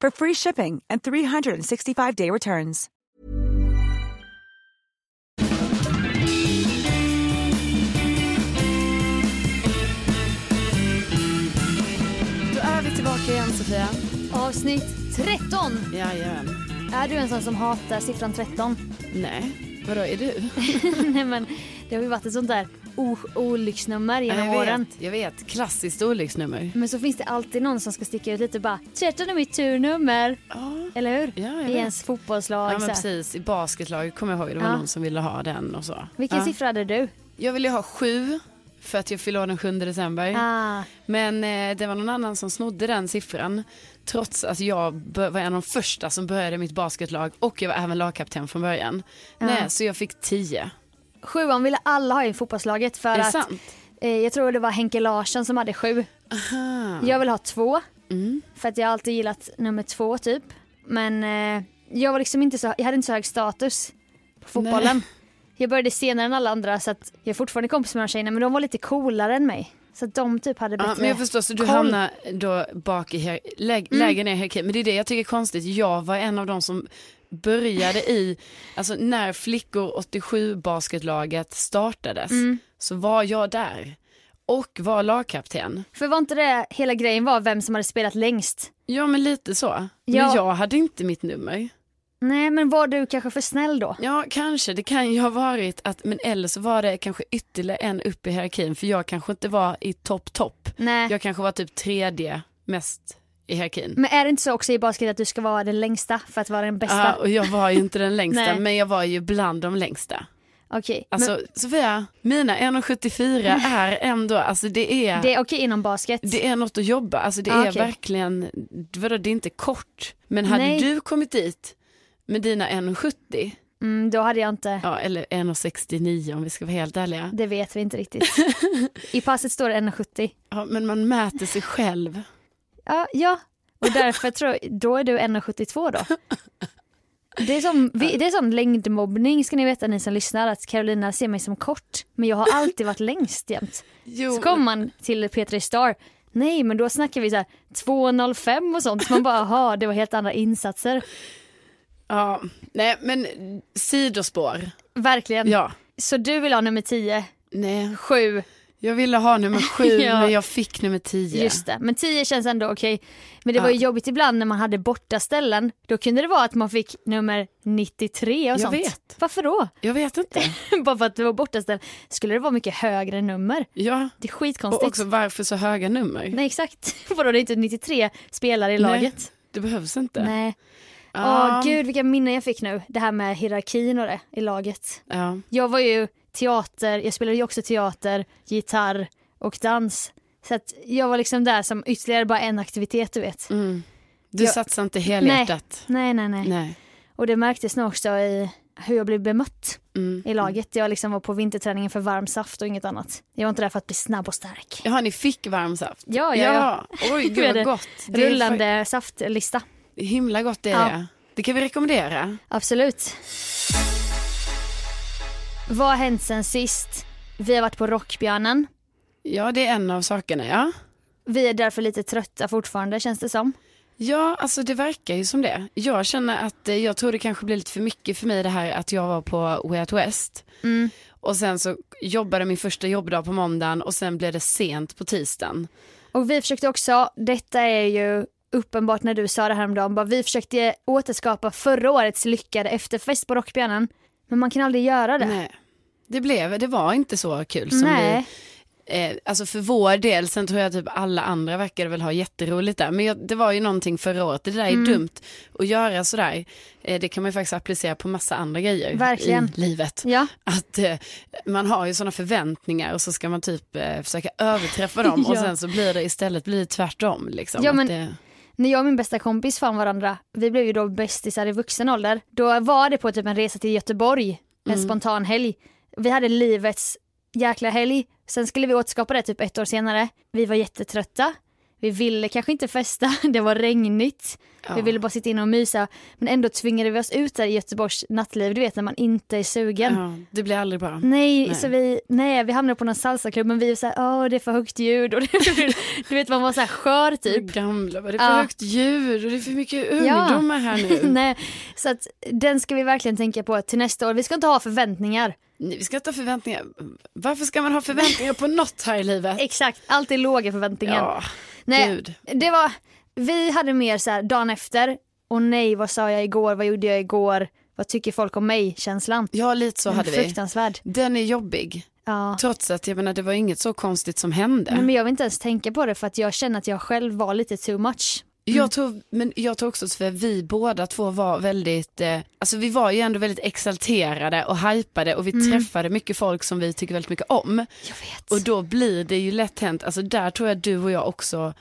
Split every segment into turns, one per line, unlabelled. for free shipping and 365-day returns.
Då är vi tillbaka igen Sofia.
Avsnitt 13.
Jajamän.
Är du en sån som hatar siffran 13?
Nej, vadå är du?
Nej men det har ju varit ett sånt där o- olycksnummer genom
jag,
åren.
vet, jag vet, klassiskt olycksnummer.
Men så finns det alltid någon som ska sticka ut lite och bara 13 är mitt turnummer.
Ja,
Eller hur?
Ja, jag
I
vet.
ens fotbollslag.
ja men
så här.
precis. I basketlaget kommer jag ihåg, det var
Ja.
någon som ville ha den och så.
Vilken
ja.
siffra hade du?
Jag ville ju ha sju, för att jag fyllde år den 7 december.
Ah,
Men eh, det var någon annan som snodde den siffran. Trots att jag bör- var en av de första som började mitt basketlag och jag var även lagkapten från början. Nej, så jag fick tio.
sjuan ville alla ha i fotbollslaget för
Är det
att
sant?
eh, jag tror det var Henke Larsson som hade sju. Jag vill ha två.
Mm.
För att jag har alltid gillat nummer två typ. Men eh, jag var liksom inte så, jag hade inte så hög status på fotbollen. Jag började senare än alla andra så att jag är fortfarande kompis med de tjejerna men de var lite coolare än mig. Så att de typ hade bättre Mm.
Ja, men jag förstår, så du
koll.
hamnar då bak i här, läg, lägre ner i hierarkin. Men det är det jag tycker är konstigt. Jag var en av de som började i, alltså när flickor 87 basketlaget startades
Mm.
så var jag där och var lagkapten.
För var inte det hela grejen var vem som hade spelat längst?
Ja men lite så. Men
Ja.
jag hade inte mitt nummer.
Nej men var du kanske för snäll då?
Ja kanske, det kan ju ha varit att, men eller så var det kanske ytterligare en upp i hierarkin för jag kanske inte var i topp topp.
Nej.
Jag kanske var typ tredje mest i hierarkin.
Men är det inte så också i basket att du ska vara den längsta för att vara den bästa?
Ja, Ah, och jag var ju inte den längsta,
Nej.
men jag var ju bland de längsta.
Okej,
Alltså Sofia, mina 1,74 är ändå, alltså det är,
men det
det...
är okej inom basket.
är något att jobba, alltså det
Ja,
är
okej.
verkligen, vadå det är inte kort. Men hade
Nej.
du kommit dit med dina 1,70,
Mm, då hade jag inte,
ja eller 1,69 om vi ska vara helt ärliga,
det vet vi inte riktigt. I passet står det 1,70.
ja, men man mäter sig själv.
Ja, ja. och därför tror jag, då är du 1,72 då. Det är, som, vi, det är som längdmobbning ska ni veta ni som lyssnar att Carolina ser mig som kort men jag har alltid varit längst jämt.
Jo,
Så kommer man till Petra i Star. Nej men då snackar vi så här 2,05 och sånt. Man bara aha det var helt andra insatser.
ja, nej men sidospår,
Mm. Verkligen.
ja.
Så du vill ha nummer 10,
Nej,
7,
jag ville ha nummer sju
Ja.
men jag fick nummer tio.
Just det, men 10 känns ändå okej. Men det var ju
Ja.
jobbigt ibland när man hade bortaställen. Då kunde det vara att man fick nummer 93 och
Jag
sånt.
vet.
Varför då?
Jag vet inte.
Bara för att det var bortaställ. Skulle det vara mycket högre nummer?
Ja.
Det är
Och
skitkonstigt.
också varför så höga nummer?
Nej exakt, vadå det är inte 93 spelare i laget?
Det behövs inte.
Nej. Åh
Ja.
gud vilka minnen jag fick nu. Det här med hierarkin och det i laget.
Ja.
Jag var ju teater, jag spelade ju också teater, gitarr och dans. Så att jag var liksom där som ytterligare bara en aktivitet du vet.
Mm. Du
Jag-
satsar inte helhjärtat?
Nej, nej, nej.
Nej.
Och det märktes nog också i hur jag blev bemött
Mm.
i laget. Jag liksom var på vinterträningen för varm saft och inget annat. Jag var inte där för att bli snabb och stark.
Jaha, ni fick varm saft?
Ja, ja, ja.
Oj,
Vi
gud
hade
vad gott. Det är
Rullande saftlista.
fa- himla gott det är
Ja.
det. Det kan vi rekommendera.
Absolut. Vad har hänt sen sist? Vi har varit på Rockbjörnen.
Ja, det är en av sakerna, ja.
Vi är därför lite trötta fortfarande känns det som.
Ja, alltså det verkar ju som det. Jag känner att eh, jag tror det kanske blir lite för mycket för mig det här att jag var på Way Out West.
Mm.
Och sen så jobbade min första jobbdag på måndagen och sen blev det sent på tisdagen.
Och vi försökte också, detta är ju uppenbart när du sa det häromdagen, bara vi försökte återskapa förra årets lyckade efterfest på Rockbjörnen. Men man kan aldrig göra det.
Nej. Det blev, det var inte så kul som
Nej.
vi Eh, alltså för vår del, sen tror jag typ alla andra verkade väl ha jätteroligt där. Men jag, det var ju någonting förra året, det där är
Mm.
dumt att göra sådär. Eh, det kan man ju faktiskt applicera på massa andra grejer
Verkligen.
i livet.
Ja.
Att eh, man har ju sådana förväntningar och så ska man typ eh, försöka överträffa dem och
Ja.
sen så blir det istället blir det tvärtom. Liksom.
Ja,
Att
men-
det,
När jag och min bästa kompis fann varandra, vi blev ju då bästisar i vuxen ålder. Då var det på typ en resa till Göteborg, en
Mm.
spontan helg. Vi hade livets jäkla helg. Sen skulle vi återskapa det typ ett år senare. Vi var jättetrötta. Vi ville kanske inte festa, det var regnigt. Vi ville bara sitta inne och mysa. Men ändå tvingade vi oss ut där i Göteborgs nattliv, du vet när man inte är sugen.
ja, det blir aldrig bra.
Nej,
Nej.
så vi, nej, vi hamnade på någon salsaklubb men vi var såhär, åh det är för högt ljud och du vet man var såhär skör typ.
Gamla, vad är det är för
Ja.
högt djur och det är för mycket ungdomar här nu.
Nej, så att den ska vi verkligen tänka på till nästa år. Vi ska inte ha förväntningar.
Nej, Vi ska inte ha förväntningar. Varför ska man ha förväntningar på något här i livet?
Exakt, alltid låga förväntningar.
Ja,
nej,
gud.
det var, vi hade mer så här dagen efter, och nej vad sa jag igår, vad gjorde jag igår, vad tycker folk om mig känslan.
Ja, lite så hade vi.
Fruktansvärd.
Den är jobbig.
Ja.
Trots att jag menar, det var inget så konstigt som hände.
Nej, Men jag vill inte ens tänka på det för att jag känner att jag själv var lite too much.
Jag tror, men jag tror också att vi båda två var väldigt, eh, alltså vi var ju ändå väldigt exalterade och hypade och vi träffade mycket folk som vi tycker väldigt mycket om.
Mm. Jag vet.
Och då blir det ju lätt hänt, alltså där tror jag du och jag också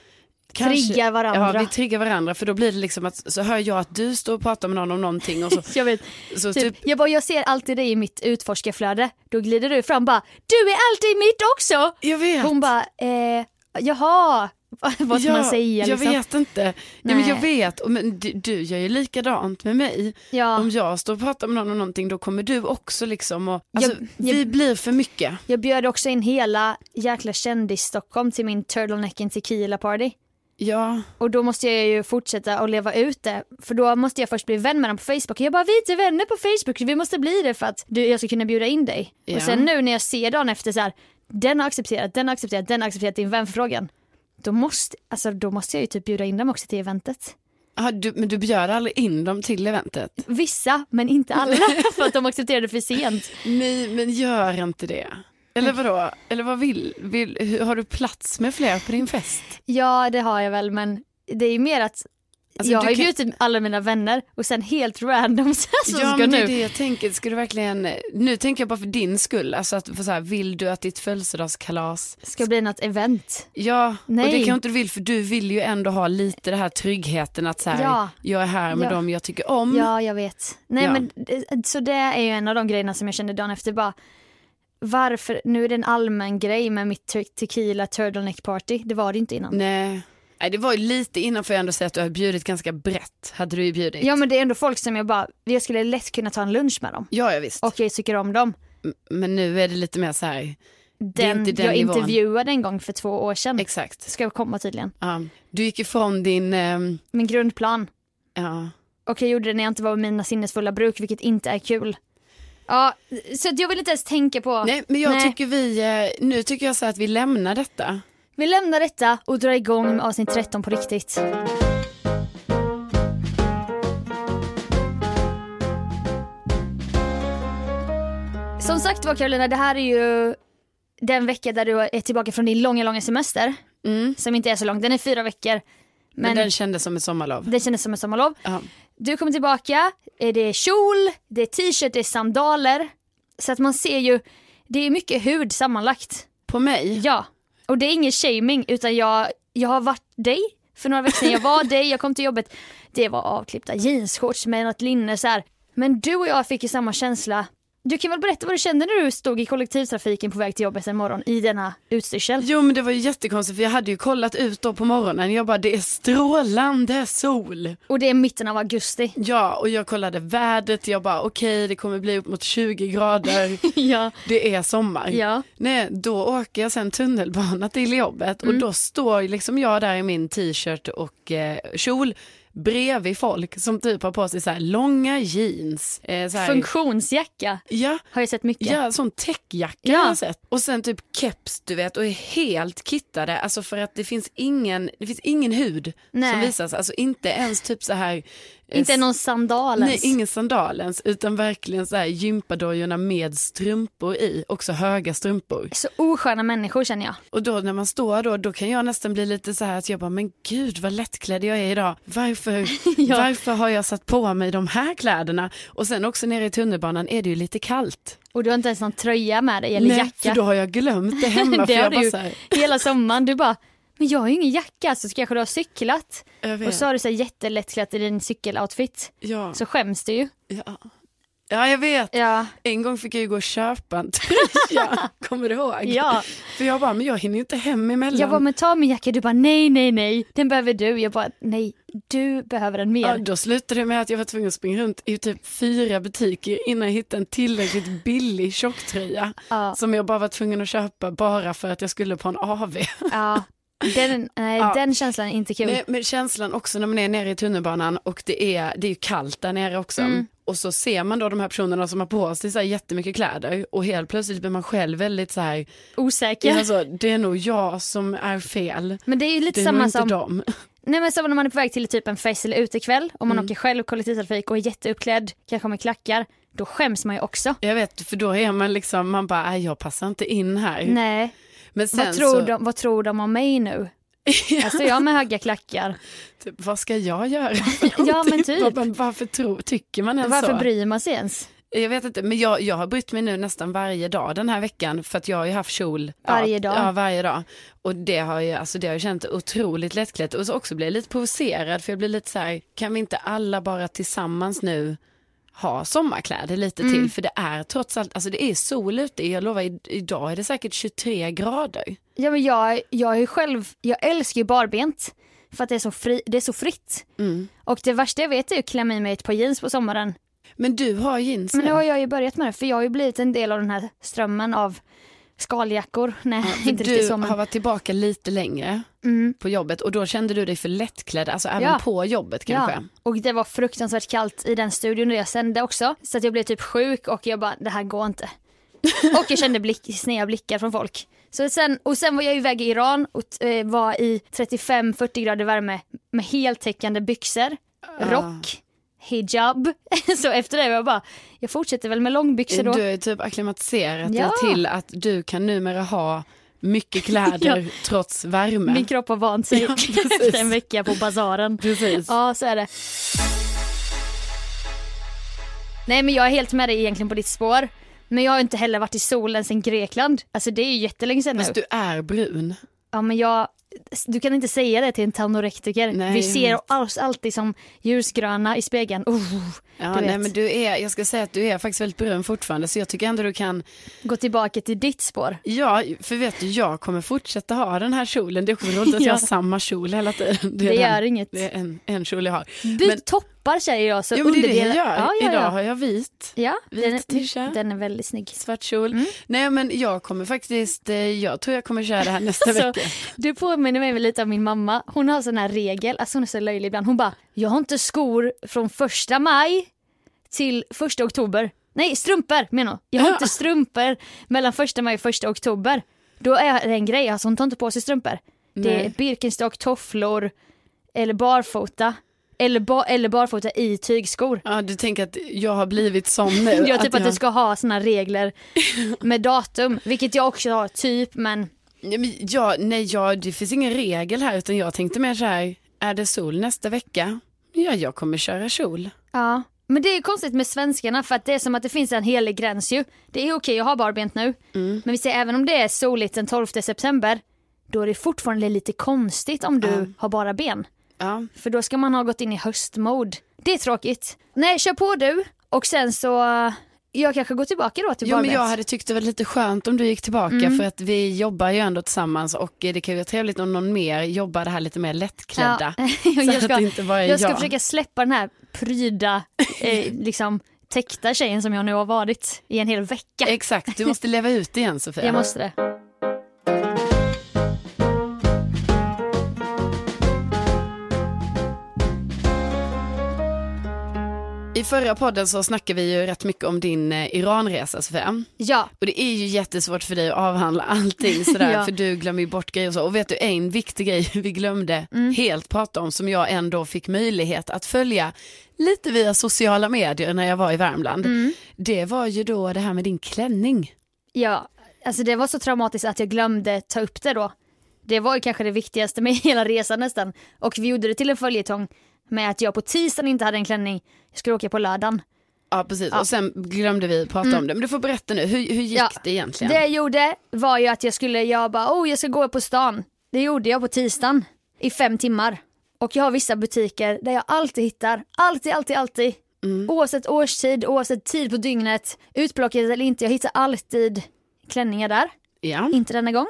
kanske-
Triggar varandra.
Ja, vi triggar varandra för då blir det liksom att så hör jag att du står och pratar med någon om någonting och så,
Jag vet.
så
Typ,
typ
jag, bara, jag ser alltid dig i mitt utforskarflöde. Då glider du fram bara, du är alltid i mitt också!
jag vet.
Hon bara, eh, jaha, vad ska
Ja,
man säga?
Jag
liksom?
vet inte. Ja, men jag
Nej.
vet, Och men du, du gör ju likadant med mig.
Ja.
Om jag står och pratar med någon om någonting då kommer du också liksom och,
Jag-
alltså, vi
jag-
blir för mycket.
Jag bjöd också in hela jäkla kändis-Stockholm till min turtleneck and tequila party.
Ja,
Och då måste jag ju fortsätta att leva ut det. För då måste jag först bli vän med dem på Facebook. Jag bara, vi är inte vänner på Facebook, vi måste bli det för att du, jag ska kunna bjuda in dig.
Ja.
Och sen nu när jag ser dagen efter så här, den har accepterat, den har accepterat, den har accepterat din vänförfrågan. Då måste, alltså, då måste jag ju typ bjuda in dem också till eventet.
ah, du, men du bjöd aldrig in dem till eventet?
Vissa, men inte alla, för att de accepterade för sent.
Nej, men gör inte det. Eller vadå? Eller vad vill, vill hur, har du plats med fler på din fest?
Ja, det har jag väl, men det är ju mer att
Alltså,
jag
du
har ju
kan-
bjudit alla mina vänner och sen helt random så så
ja,
ska
men det är
nu.
det jag tänker. Ska du verkligen, nu tänker jag bara för din skull, alltså att, för så här, vill du att ditt födelsedagskalas
ska bli något event.
Ja, och
Nej.
det kan inte du vill för du vill ju ändå ha lite det här tryggheten att så här,
Ja.
jag är här med
Ja.
dem jag tycker om.
Ja, jag vet. Nej,
Mm. Ja.
men eh, så det är ju en av de grejerna som jag kände dagen efter bara varför, nu är det en allmän grej med mitt te- tequila turtleneck party, det var det inte innan.
Nej. Nej, det var ju lite innan får jag ändå säga att du har bjudit ganska brett, hade du ju bjudit.
Ja men det är ändå folk som jag bara, jag skulle lätt kunna ta en lunch med dem
ja, ja visst.
och jag tycker om dem.
Men nu är det lite mer så här, det är
Den,
inte den
jag
nivån.
intervjuade en gång för två år sedan,
Exakt.
ska jag komma tydligen.
Ja. Du gick ifrån din, ehm,
Min grundplan.
ja.
Och jag gjorde det när jag inte var med mina sinnesfulla bruk, vilket inte är kul. Ja, så att jag vill inte ens tänka på.
Nej men jag
Nej.
tycker vi, eh, nu tycker jag så här att vi lämnar detta.
Vi lämnar detta och drar igång med avsnitt 13 på riktigt. Som sagt var Carolina, det här är ju den vecka där du är tillbaka från din långa, långa semester. Som inte är så lång, den är fyra veckor.
Mm. Men,
Men,
den kändes som ett sommarlov.
det kändes som en sommarlov.
Ja.
Du kommer tillbaka, eh, det är kjol, det är t-shirt, det är sandaler. Så att man ser ju, det är mycket hud sammanlagt.
På mig?
Ja, och det är ingen shaming utan jag, jag har varit dig för några veckor sedan. Jag var dig, jag kom till jobbet. Det var avklippta jeansshorts med något linne så här. Men du och jag fick ju samma känsla Du kan väl berätta vad du kände när du stod i kollektivtrafiken på väg till jobbet en morgon i denna utstyrsel?
Jo men det var ju jättekonstigt för jag hade ju kollat ut då på morgonen. Jag bara det är strålande sol.
Och det är mitten av augusti.
Ja och jag kollade vädret. Jag bara okej det kommer bli upp mot 20 grader.
Ja.
Det är sommar.
Ja.
Nej, då åker jag sen tunnelbana till jobbet
Mm.
och då står liksom jag där i min t-shirt och eh, kjol bredvid folk som typ har på sig så här långa jeans. Eh, så här,
Funktionsjacka
ja,
har jag sett mycket.
Ja, sån täckjacka
Ja.
har jag sett. Och sen typ keps du vet och är helt kittade. Alltså för att det finns ingen, det finns ingen hud som
Nej.
visas. Alltså inte ens typ så här. eh,
Inte
s-
någon sandal
Nej,
ens.
ingen sandal ens. Utan verkligen så här gympadojorna med strumpor i. Också höga strumpor.
Så osköna människor känner jag.
Och då när man står då, då kan jag nästan bli lite så här att jag bara, men gud vad lättklädd jag är idag. Varför,
Ja.
varför har jag satt på mig de här kläderna? Och sen också nere i tunnelbanan är det ju lite kallt.
Och du har inte ens någon tröja med dig eller
Nej,
jacka.
för då har jag glömt det hemma. för
det har
jag
du
bara
ju
så här,
hela sommaren. Du bara, men jag har ju ingen jacka så kanske du har cyklat.
jag vet.
Och så har du så här jättelättklätt i din cykeloutfit.
ja,
Så skäms du ju.
ja. ja, jag vet.
Ja.
En gång fick jag ju gå och köpa en tröja, kommer du ihåg?
Ja.
För jag bara, men jag hinner ju inte hem emellan.
Jag bara, men ta min jacka. Du bara, nej, nej, nej. Den behöver du. Jag bara, nej, du behöver den
Ja,
mer.
då slutade det med att jag var tvungen att springa runt i typ fyra butiker innan jag hittade en tillräckligt billig tjocktröja
Ja.
som jag bara var tvungen att köpa bara för att jag skulle på en AV.
Ja. Den, nej,
Ja.
den känslan är inte kul.
Nej, men känslan också när man är nere i tunnelbanan och det är, det är ju kallt där nere också.
Mm.
Och så ser man då de här personerna som har på sig så här jättemycket kläder och helt plötsligt blir man själv väldigt så här,
Osäker.
alltså, det är nog jag som är fel.
Men det är ju lite
Det är nog
samma
inte
som,
dem.
nej men som när man är på väg till typ en fest eller utekväll och
Mm.
man åker själv kollektivtrafik och är jätteuppklädd, kanske med klackar, då skäms man ju också.
Jag vet, för då är man liksom, man bara, "Nej, jag passar inte in här.
Nej,
Men sen
vad tror,
så,
de, vad tror de om mig nu? Här står jag med höga klackar.
Typ, vad ska jag göra?
Ja, men
Typ,
typ.
vad- men varför tro, tycker man ens
Varför
så?
bryr man sig ens?
jag vet inte, men jag, jag har brytt mig nu nästan varje dag den här veckan för att jag har ju haft kjol
Varje
ja,
dag.
Ja, varje dag. Och det har ju, alltså det har jag känt otroligt lättklätt och så också blir jag lite provocerad för jag blir lite så här, kan vi inte alla bara tillsammans nu ha sommarkläder lite
Mm.
till för det är trots allt, alltså det är sol ute, jag lovar i- idag är det säkert 23 grader.
Ja, men jag, jag, är ju själv, jag älskar ju barbent för att det är så, fri, det är så fritt.
Mm.
Och det värsta jag vet är ju att klämma i mig ett par jeans på sommaren.
Men du har jeans
Men nu
nu.
har jag ju börjat med det för jag har ju blivit en del av den här strömmen av skaljackor. Nej, inte riktigt
du
så men...
har varit tillbaka lite längre på jobbet och då kände du dig för lättklädd, alltså även
Ja.
på jobbet kanske.
Ja, och det var fruktansvärt kallt i den studion där jag sände också. Så att jag blev typ sjuk och jag bara, det här går inte. Och jag kände blick, sneda blickar från folk. Så sen, och sen var jag iväg i Iran och eh, var i 35-40 grader värme med heltäckande byxor, rock, hijab. Så efter det var jag bara, jag fortsätter väl med långbyxor då.
Du har ju typ akklimatiserat
Ja.
dig till att du kan numera ha mycket kläder trots värme.
Min kropp har vant sig
Ja, precis.
efter en vecka på bazaren.
Precis.
Ja, så är det. Nej, men jag är helt med dig egentligen på ditt spår. Men jag har inte heller varit i solen sedan Grekland. Alltså det är ju jättelänge sedan nu.
Fast du är brun.
Ja, men jag... Du kan inte säga det till en tanorektiker.
Nej,
Vi
jag
ser oss alltid som ljusgröna i spegeln. Oh,
Ja,
du vet.
nej, men du är, jag ska säga att du är faktiskt väldigt brun fortfarande så jag tycker ändå du kan,
Gå tillbaka till ditt spår.
ja för vet du jag kommer fortsätta ha den här kjolen, det är också roligt att jag
Ja.
har samma kjol hela tiden.
Det
den.
gör inget.
Det är en, en kjol jag har.
Byt
men,
toppar säger jag. Så
jo, men det är det jag
underdelar-
gör,
Ja, ja,
idag
ja.
har jag vit.
ja
vit
den,
t-shirt.
den är väldigt snygg.
svart kjol.
Mm.
Nej men jag kommer faktiskt, eh, jag tror jag kommer köra det här nästa
Alltså,
vecka.
du påminner mig lite om min mamma. Hon har sån här regel, alltså hon är så löjlig ibland. Hon bara, jag har inte skor från första maj till första oktober. Nej, strumpor menar hon. Jag har inte strumpor mellan första maj och första oktober. Då är det en grej, alltså hon tar inte på sig strumpor. Det är
Nej.
Birkenstock, tofflor eller barfota. Eller, ba- eller barfota i tygskor.
Ja du tänker att jag har blivit sån nu.
Jag typ att
jag...
du ska ha såna regler med datum, vilket jag också har typ men
Nej, men jag- nej jag, det finns ingen regel här utan jag tänkte mer så här, är det sol nästa vecka? Ja jag kommer köra kjol.
Ja, men det är konstigt med svenskarna för att det är som att det finns en helig gräns ju. Det är okej att ha barbent nu,
Mm.
men vi säger även om det är soligt den 12 september, då är det fortfarande lite konstigt om du har bara ben.
Ja.
För då ska man ha gått in i höstmode. Det är tråkigt. Nej, kör på du. Och sen så eh, jag kanske går tillbaka då till
Jo, men
barbett.
jag hade tyckt det var lite skönt om du gick tillbaka
Mm.
för att vi jobbar ju ändå tillsammans och eh, det kan ju vara trevligt om någon mer jobbar det här lite mer lättklädda.
Ja.
Så
jag
att
ska,
det inte bara är
jag ska
jag.
försöka släppa den här pryda, eh, liksom täckta tjejen som jag nu har varit i en hel vecka.
Exakt, du måste leva ut igen Sofia.
Jag måste det.
I förra podden så snackade vi ju rätt mycket om din eh, Iranresa Sofia.
Ja,
Och det är ju jättesvårt för dig att avhandla allting sådär
Ja.
för du glömmer ju bort grejer och så. Och vet du en viktig grej vi glömde
Mm.
helt prata om som jag ändå fick möjlighet att följa lite via sociala medier när jag var i Värmland.
Mm.
Det var ju då det här med din klänning.
ja. Alltså det var så traumatiskt att jag glömde ta upp det då. Det var ju kanske det viktigaste med hela resan nästan. Och vi gjorde det till en följetong med att jag på tisdagen inte hade en klänning, jag skulle åka på lördagen.
Ja precis och sen glömde vi prata om det. Men du får berätta nu, hur, hur gick
Mm. Ja.
det egentligen?
Det jag gjorde var ju att jag skulle, jag bara, oh jag ska gå på stan. Det gjorde jag på tisdagen i fem timmar. Och jag har vissa butiker där jag alltid hittar, alltid, alltid, alltid.
Mm.
Oavsett årstid, oavsett tid på dygnet, utplockat eller inte, jag hittar alltid klänningar där.
Ja.
Inte denna gång.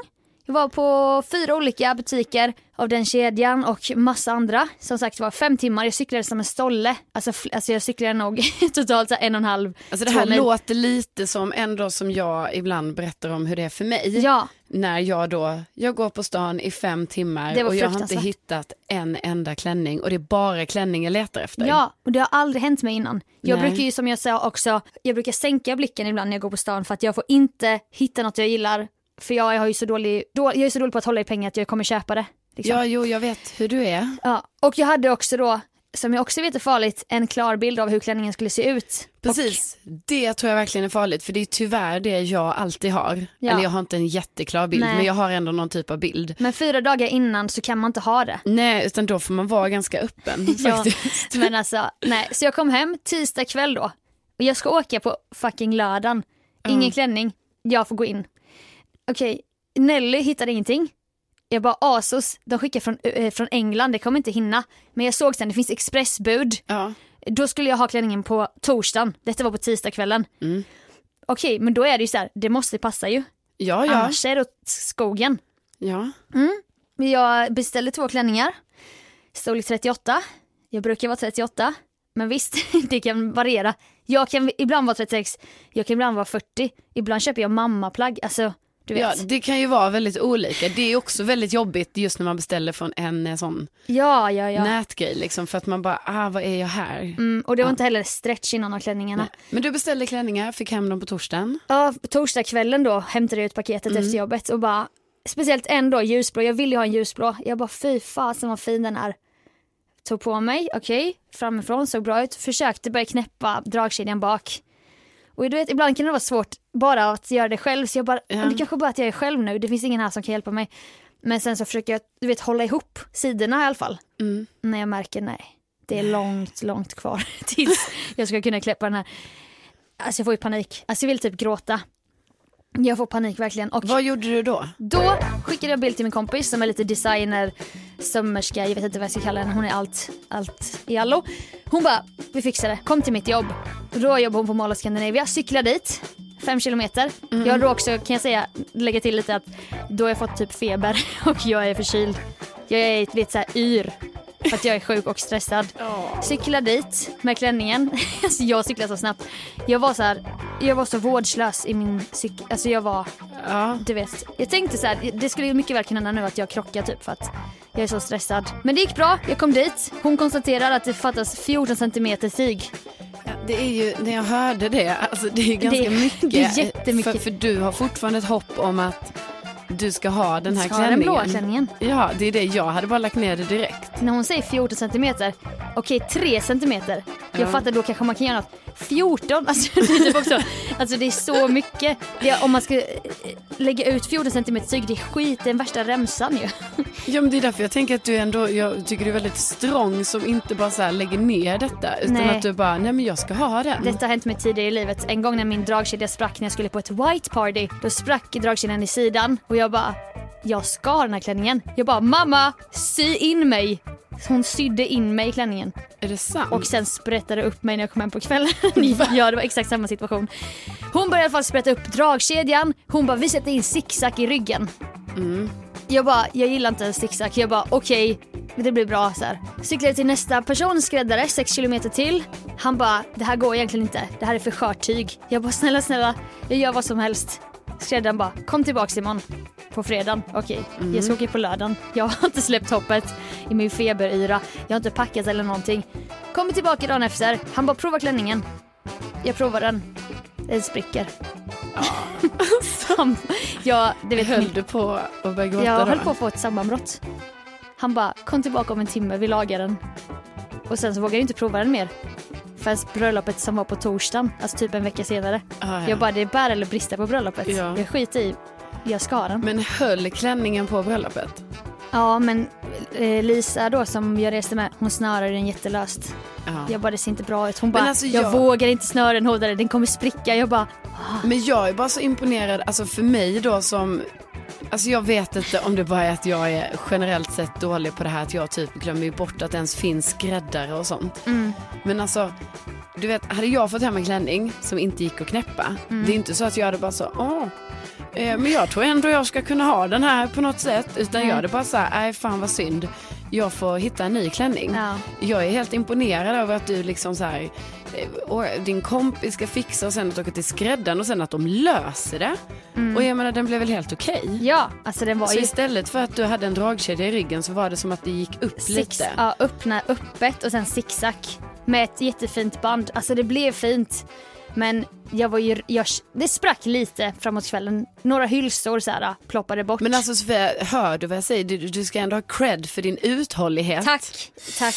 Jag var på fyra olika butiker av den kedjan och massa andra. Som sagt det var fem timmar, jag cyklade som en stolle. Alltså, fl- alltså jag cyklade nog totalt så här en och en halv,
Alltså det här
två mil.
låter lite som ändå som jag ibland berättar om hur det är för mig.
Ja.
När jag då, jag går på stan i fem
Det
timmar
var
och jag har inte
fruktansvärt.
hittat en enda klänning och det är bara klänning jag letar efter.
Ja, och det har aldrig hänt mig innan. Jag
Nej.
brukar ju som jag sa också, jag brukar sänka blicken ibland när jag går på stan för att jag får inte hitta något jag gillar. För jag, har ju så dålig, då, jag är så dålig på att hålla i pengar att jag kommer köpa det. Liksom.
ja, jo jag vet hur du är.
Ja. Och jag hade också då, som jag också vet är farligt, en klar bild av hur klänningen skulle se ut.
Precis, det tror jag verkligen är farligt för det är tyvärr det jag alltid har.
Ja.
Eller jag har inte en jätteklar bild
Nej.
men jag har ändå någon typ av bild.
Och, men fyra dagar innan så kan man inte ha det.
Nej, utan då får man vara ganska öppen
Ja,
faktiskt.
men alltså, nej. Så jag kom hem tisdag kväll då. Och jag ska åka på fucking lördagen. Ingen klänning. Jag får gå in. Okej, Nelly hittade ingenting. Jag bara Asos, de skickar från, eh, från England, det kommer inte hinna. Men jag såg sen, det finns expressbud.
Ja.
Då skulle jag ha klänningen på torsdagen. Detta var på tisdagskvällen. Okej, men då är det ju så här, det måste passa ju.
Ja, ja.
Annars är det åt skogen.
ja.
Men Jag beställde två klänningar. Storlek 38. Jag brukar vara 38. Men visst, det kan variera. Jag kan ibland vara 36, jag kan ibland vara 40. Ibland köper jag mammaplagg. Alltså, du vet.
Ja, det kan ju vara väldigt olika. Det är också väldigt jobbigt just när man beställer från en eh, sån
Ja, ja, ja.
nätgrej liksom för att man bara, ah vad är jag här?
Mm, och det var inte heller stretch innan av klänningarna.
Men du beställde klänningar, fick hem dem på torsdagen.
Ja, på torsdagskvällen då hämtade jag ut paketet
Mm.
efter jobbet och bara, speciellt en då, ljusblå, jag ville ju ha en ljusblå. Jag bara fy fasen vad fin den är. Tog på mig, okej, framifrån, såg bra ut, försökte börja knäppa dragkedjan bak. Och du vet, ibland kan det vara svårt bara att göra det själv så jag bara,
Ja.
"Men det kanske bara är att jag är själv nu, det finns ingen här som kan hjälpa mig. Men sen så försöker jag, du vet, hålla ihop sidorna i alla fall.
Mm.
När jag märker, nej, det är långt, långt kvar tills jag ska kunna kläppa den här. Alltså jag får ju panik. Alltså jag vill typ gråta. Jag får panik verkligen. Och
Vad gjorde du då?
då skickade jag bild till min kompis som är lite designer, sömmerska, jag vet inte vad jag ska kalla henne. Hon är allt, allt i allo. Hon bara, vi fixar det. Kom till mitt jobb. Och då jobbar hon på Mall of Scandinavia. Cyklar dit, fem kilometer. Jag har då också, kan jag säga, lägga till lite att då har jag fått typ feber och jag är förkyld. Jag är vet, så här, yr för att jag är sjuk och stressad. Cyklar dit med klänningen. Alltså jag cyklar så snabbt. Jag var så här, jag var så vårdslös i min cykel. Alltså jag var
Ja.
du vet, jag tänkte så här, det skulle ju mycket väl kunna hända nu att jag krockar typ för att jag är så stressad. Men det gick bra, jag kom dit. Hon konstaterar att det fattas 14 centimeter tyg.
Det är ju, när jag hörde det, alltså det är ganska
Det-
mycket.
det är jättemycket.
För, för du har fortfarande ett hopp om att du ska ha den här
Ska ha den
klänningen.
blåa klänningen.
Ja, det är det. Jag hade bara lagt ner det direkt.
När hon säger 14 centimeter, okej 3 centimeter. Jag fattar då kanske man kan göra något. 14, alltså det är, typ också, alltså det är så mycket. Det är, om man ska eh, lägga ut 14 centimeter tyg, det är skit, det är den värsta remsan ju.
Ja, men det är därför jag tänker att du ändå, jag tycker du är väldigt strong som inte bara så här lägger ner detta utan
Nej.
att du bara, nej men jag ska ha den.
Detta har hänt mig tidigare i livet. En gång när min dragkedja sprack när jag skulle på ett white party. Då sprack dragkedjan i sidan och jag bara jag ska ha den här klänningen. Jag bara mamma, sy in mig. Så Hon sydde in mig i klänningen
Är det sant?
och sen sprättade upp mig när jag kom hem på kvällen. ja det var exakt samma situation. Hon började i alla fall sprätta upp dragkedjan. Hon bara vi sätter in zigzag i ryggen. Jag bara jag gillar inte zigzag. Jag bara okej men det blir bra så här. Cyklade till nästa person, skräddare 6 kilometer till. Han bara det här går egentligen inte. Det här är för skört tyg. Jag bara snälla snälla jag gör vad som helst. Skräddaren bara kom tillbaks imorgon. På fredagen, okej. Jag ska åka på lördagen. Jag har inte släppt hoppet i min feberyra. Jag har inte packat eller någonting. Kommer tillbaka dagen efter. Han bara prova klänningen. Jag provar den. Den spricker. Han- jag, det vet
Höll
min-
du på att börja gråta
jag
då?
höll på att få ett sammanbrott. Han bara, kom tillbaka om en timme, vi lagar den. Och sen så vågade jag inte prova den mer. Förrän bröllopet som var på torsdagen, alltså typ en vecka senare.
Ah, ja.
Jag bara, det är bär eller brista på bröllopet.
Ja.
Jag skiter i, jag ska ha den.
Men höll klänningen på bröllopet?
Ja men eh, Lisa då som jag reste med, hon snörade den jättelöst.
Ja.
Jag bara det ser inte bra ut. Hon
Men
bara
alltså,
jag...
jag-
vågar inte snöra den hårdare, den kommer spricka. Jag bara
Men jag är bara så imponerad, alltså för mig då som, alltså jag vet inte om det bara är att jag är generellt sett dålig på det här att jag typ glömmer ju bort att det ens finns skräddare och sånt. Men alltså, du vet, hade jag fått hem en klänning som inte gick att knäppa, det är inte så att jag hade bara så, åh, eh, men jag tror ändå jag ska kunna ha den här på något sätt, utan jag hade bara så här, nej fan vad synd. Jag får hitta en ny klänning.
Ja.
Jag är helt imponerad över att du liksom så här, eh, och din kompis ska fixa och sen att åka till skräddaren och sen att de löser det. Och jag menar den blev väl helt okej.
ja, alltså den var
Så
ju
istället för att du hade en dragkedja i ryggen så var det som att det gick upp
six,
lite.
ja, öppna, öppet och sen zigzag med ett jättefint band. Alltså det blev fint. Men jag var ju, jag, det sprack lite framåt kvällen. Några hylsor så här ploppade bort.
Men alltså Sofia, hör du vad jag säger? Du, du ska ändå ha cred för din uthållighet.
Tack, tack.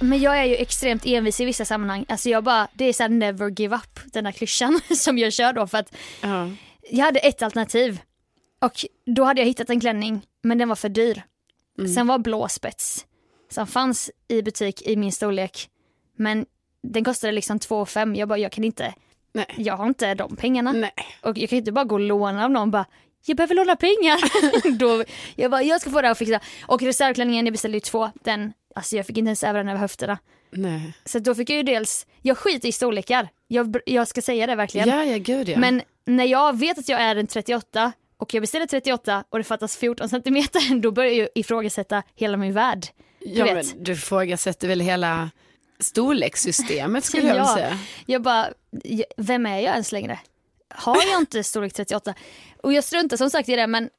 Men jag är ju extremt envis i vissa sammanhang. Alltså jag bara, det är såhär never give up, den här klyschan som jag kör då för att
Ja.
jag hade ett alternativ och då hade jag hittat en klänning men den var för dyr.
Mm.
Sen var blå spets som fanns i butik i min storlek men den kostade liksom 2 5. Jag bara, jag kan inte,
Nej.
jag har inte de pengarna.
Nej.
Och jag kan inte bara gå och låna av någon bara jag behöver låna pengar. Då, jag bara, jag ska få det här och fixa. Och reservklänningen, jag beställde ju två. Den, alltså jag fick inte ens över den över höfterna.
Nej.
Så då fick jag ju dels, jag skiter i storlekar. Jag, br- jag ska säga det verkligen.
Ja, ja, gud ja.
Men när jag vet att jag är en 38 och jag beställer 38 och det fattas 14 centimeter, då börjar jag ju ifrågasätta hela min värld.
ja,
du vet.
men du ifrågasätter väl hela storlekssystemet skulle jag vilja
Ja.
säga.
Jag bara, "J- vem är jag ens längre? Har jag inte storlek 38? Och jag struntar som sagt i det men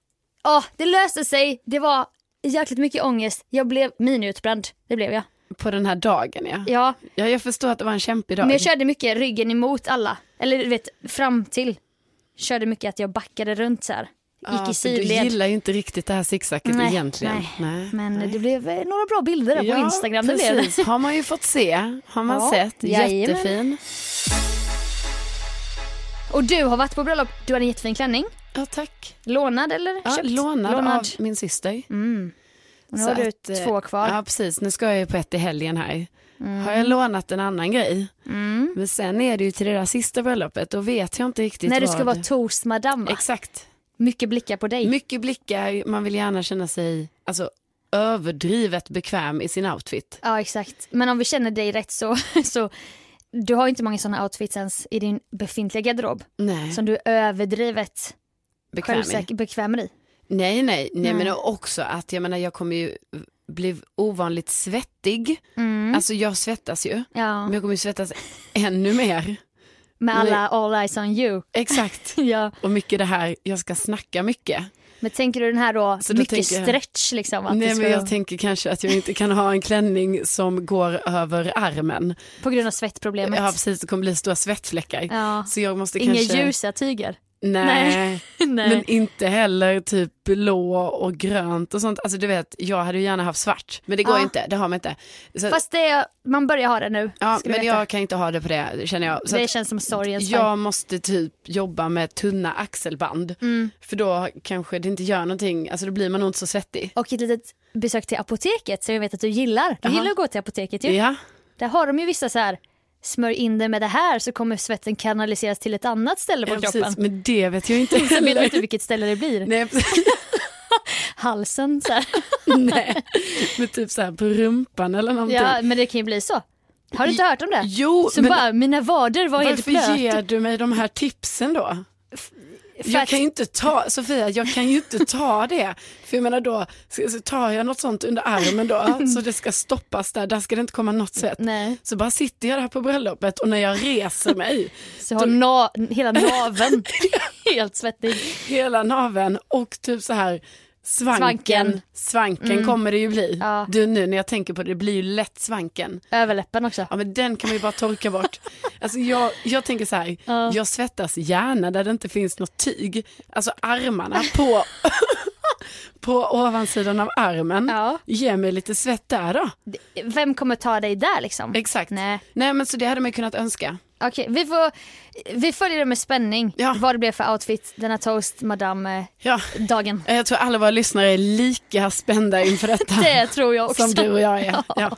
åh, det löste sig. Det var jäkligt mycket ångest. Jag blev miniutbränd. Det blev jag.
På den här dagen ja.
Ja,
Ja, jag förstår att det var en kämpig dag.
men jag körde mycket ryggen emot alla. Eller du vet, fram till. Körde mycket att jag backade runt så här. Gick
Ja, Ah, för
i
Du
sidled.
gillar ju inte riktigt det här zigzacket
Nej,
egentligen.
nej. Men det blev eh, några bra bilder där på Instagram. Det blev det.
precis. Har man ju fått se. Har man
Ja,
sett.
jajamän.
Jättefin.
Och du har varit på bröllop. Du har en jättefin klänning.
Ja, tack.
Lånad eller
Ja,
köpt? Mm.
lånad, av min syster.
Nu
Så
har du
att, eh,
två kvar. Mm.
Ja, precis. Nu ska jag ju på ett i helgen här. Har jag lånat en annan grej? Men sen är det ju till det där sista bröllopet. Då vet jag inte riktigt
När du
vad-
ska vara toastmadam va?
Exakt.
Mycket blickar på dig.
Mycket blickar. Man vill gärna känna sig alltså, överdrivet bekväm i sin outfit.
Ja exakt. Men om vi känner dig rätt så, så du har ju inte många sådana outfits ens i din befintliga garderob
Nej,
som du är överdrivet
bekväm i.
självsäker bekväm i.
Nej, nej, nej, men också att jag menar jag kommer ju bli ovanligt svettig. Alltså jag svettas ju,
Mm. Ja,
men jag kommer ju svettas ännu mer.
med alla all eyes on you.
Exakt.
Ja.
Och mycket det här, jag ska snacka mycket.
Men tänker du den här då,
Så då
mycket
tänker jag-
stretch liksom? Att det
nej,
ska,
men jag tänker kanske att jag inte kan ha en klänning som går över armen.
På grund av svettproblemet.
Ja, precis, det kommer bli stora svettfläckar.
Ja.
Så jag måste
Inga
kanske...
ljusa tyger.
Nej.
Nej.
Men inte heller typ blå och grönt och sånt. Alltså du vet, jag hade ju gärna haft svart. Men det går
Ja.
ju inte, det har man inte. Så,
Fast det, är- man börjar ha det nu.
Eh, Ja,
ska du
men
veta.
jag kan inte ha det på det känner jag. Så
det
att
känns som sorgens färg.
jag måste typ jobba med tunna axelband.
Mm.
För då kanske det inte gör någonting, alltså då blir man nog inte så svettig.
Och ett litet besök till apoteket som jag vet att du gillar. Du
Jaha.
gillar att gå till apoteket ju.
Ja,
Där har de ju vissa så här smörj in det med det här så kommer svetten kanaliseras till ett annat ställe på
Ja,
kroppen.
precis, men det vet jag inte
Sen vet man
heller.
inte vilket ställe det blir.
Nej,
Halsen så här.
nej. Men typ så här på rumpan eller någonting.
Ja, men det kan ju bli så. Har du inte hört om det?
Jo,
så
men
bara, mina vader var helt
varför
blöta.
ger du mig de här tipsen då?
För
Jag
att-
kan ju inte ta, Sofia, jag kan ju inte ta det. För jag menar då, så så tar jag något sånt under armen då, så det ska stoppas där, där ska det inte komma något sätt.
Nej.
Så bara sitter jag där på bröllopet och när jag reser mig,
Så har na hela naveln helt svettig.
hela naveln och typ så här svanken,
Svanken. Mm.
svanken, kommer det ju bli.
Ja.
Du nu när jag tänker på det, det blir ju lätt svanken.
Överläppen också.
Ja men den kan man ju bara torka bort. Alltså jag, jag tänker så här, jag svettas gärna där det inte finns något tyg. Alltså armarna på, på ovansidan av armen.
Ja.
Ge mig lite svett där då.
Vem kommer ta dig där liksom?
Exakt.
Nej.
Nej men så det hade man ju kunnat önska.
Okej, vi, får, vi följer det med spänning.
Ja.
Vad det blev för outfit denna toast eh, madame-dagen.
Ja. Jag tror alla våra lyssnare är lika spända inför detta.
Det tror jag också.
Som du och jag är. Ja.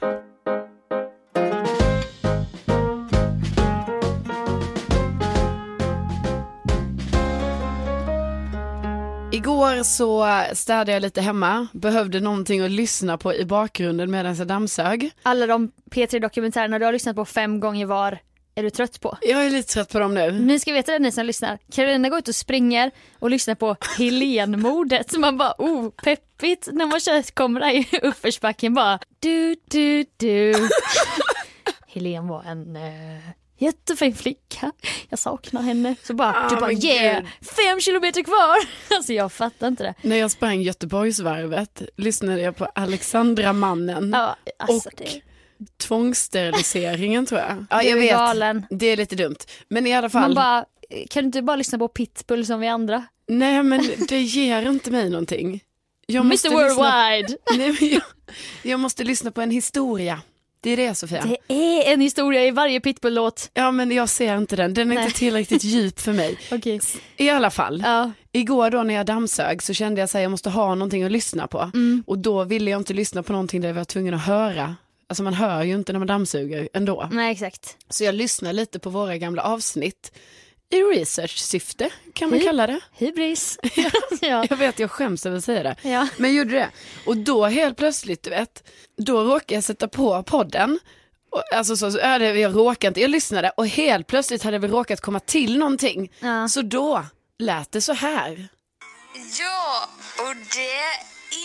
Igår så städade jag lite hemma, behövde någonting att lyssna på i bakgrunden medan jag dammsög.
Alla de P3-dokumentärerna du har lyssnat på fem gånger var är du trött på.
Jag är lite trött på dem nu.
Ni ska veta det ni som lyssnar. Karolina går ut och springer och lyssnar på Helenmordet. Så man bara oh, peppigt när man kör, kommer där i uppförsbacken bara du, du, du. Helen var en eh, jättefin flicka. Jag saknar henne. Så bara, du
Ah,
bara
men
yeah,
gud.
fem kilometer kvar. Alltså jag fattar inte det.
När jag sprang Göteborgsvarvet lyssnade jag på Alexandra-mannen
Ja, alltså
och
det.
tvångssteriliseringen tror jag. Ja,
Du
jag
är
vet.
galen.
Det är lite dumt. Men i alla fall.
Man bara, kan du inte bara lyssna på Pitbull som vi andra?
Nej men det ger inte mig någonting. Jag
Mr Worldwide.
Nej, men jag, jag måste lyssna på en historia. Det är det Sofia.
Det är en historia i varje Pitbull-låt.
Ja men jag ser inte den, den är
Nej.
inte tillräckligt djup för mig.
Okej.
I alla fall,
Ja.
igår då när jag dammsög så kände jag att jag måste ha någonting att lyssna på.
Mm.
Och då ville jag inte lyssna på någonting där jag var tvungen att höra. Alltså man hör ju inte när man dammsuger ändå.
Nej exakt.
Så jag lyssnar lite på våra gamla avsnitt. I research-syfte kan
Mm.
man kalla det.
Hybris. ja.
Jag vet, jag skäms över att säga det.
Ja.
Men jag gjorde det. Och då helt plötsligt, du vet, då råkade jag sätta på podden. Och, alltså så, så är det, jag råkade inte, jag lyssnade och helt plötsligt hade vi råkat komma till någonting.
Ja.
Så då lät det så här.
Ja, och det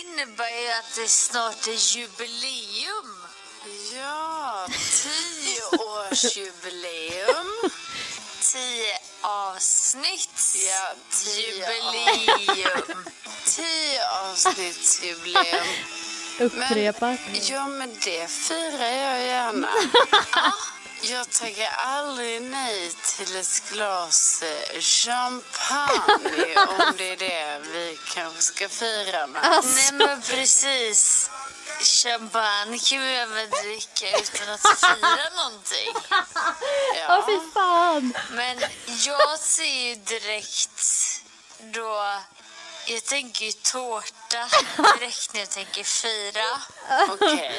innebär ju att det snart är jubileum. Ja, tioårsjubileum. Tio avsnitt. Ja, jubileum. Tio avsnittsjubileum.
Upprepa.
Ja, men det firar jag gärna. Jag tänker aldrig nej till ett glas eh, champagne om det är det vi kanske ska fira med. Nej, men precis. Champagne kan vi även dricka utan att fira någonting.
Åh fy fan.
Men jag ser ju direkt då... Jag tänker ju tårta direkt när jag tänker fira. Okej.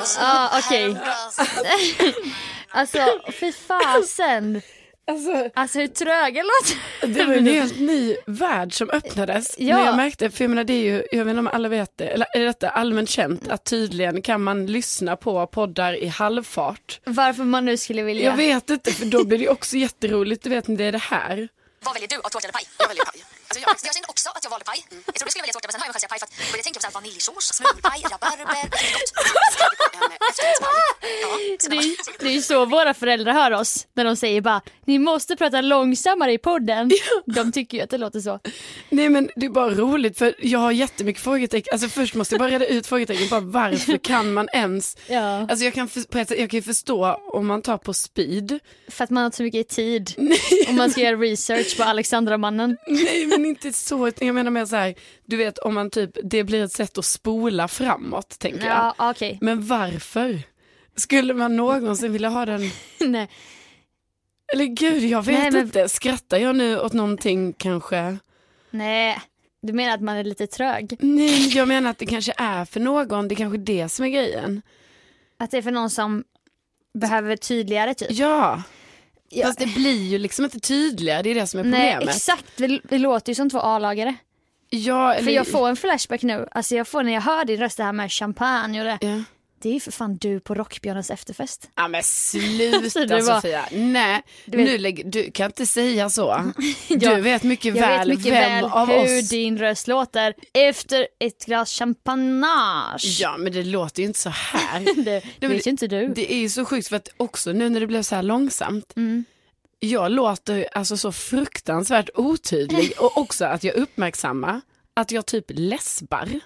Och så
Ja ah, okej.
häromdagen
Alltså fy fasen.
Alltså,
Alltså hur tröga låter
det var en helt ny värld som öppnades.
Ja.
När jag märkte, för jag menar det är ju, jag vet inte om alla vet det, eller är detta allmänt känt, att tydligen kan man lyssna på poddar i halvfart.
Varför man nu skulle vilja.
Jag vet inte, för då blir det också jätteroligt, du vet när det är det här.
Vad väljer du? Av tårta eller paj? Jag väljer paj. Alltså jag, jag kände också att jag valde paj.
Mm.
Jag trodde jag skulle välja tårta men sen har jag chansen paj för att jag började tänka på så här vaniljsås, smulpaj, rabarber. Det är gott. Ska vi på en eh, efterrättspaj? Ja,
Det är, det är ju så våra föräldrar hör oss när de säger bara ni måste prata långsammare i podden. De tycker ju att det låter så.
Nej men det är bara roligt för jag har jättemycket frågetecken. Alltså först måste jag bara reda ut frågetecken. Bara varför kan man ens?
Ja.
Alltså jag kan, för, på ett sätt, jag kan ju förstå om man tar på speed.
För att man har inte så mycket tid. Om man ska göra research på Alexandramannen.
Nej men inte så. utan Jag menar mer så här. Du vet om man typ, det blir ett sätt att spola framåt tänker
Ja
jag.
okej.
Men varför? Skulle man någonsin vilja ha den?
Nej.
Eller gud jag vet
Nej, men-
inte. Skrattar jag nu åt någonting kanske?
Nej. Du menar att man är lite trög?
Nej men jag menar att det kanske är för någon. Det är kanske är det som är grejen.
Att det är för någon som behöver tydligare typ.
Ja.
Ja.
Fast det blir ju liksom inte tydligare, det är det som är
Nej
problemet.
exakt, vi, vi låter ju som två A-lagare.
ja, eller...
För jag får en flashback nu, alltså jag får när jag hör din röst det här med champagne och det.
Ja.
Det är ju för fan du på Rockbjörnens efterfest.
Ja men sluta
Det var-
Sofia. Nej,
vet-
nu lägger, du kan inte säga så.
Ja,
Du vet mycket
jag
väl
vet mycket
vem
väl
av
hur
oss.
din röst låter efter ett glas champagnage.
Ja men det låter ju inte så här.
Det
men
vet ju inte du.
Det är ju så sjukt för att också nu när det blev så här långsamt.
Mm.
Jag låter ju alltså så fruktansvärt otydlig och också att jag uppmärksammar att jag typ läspar.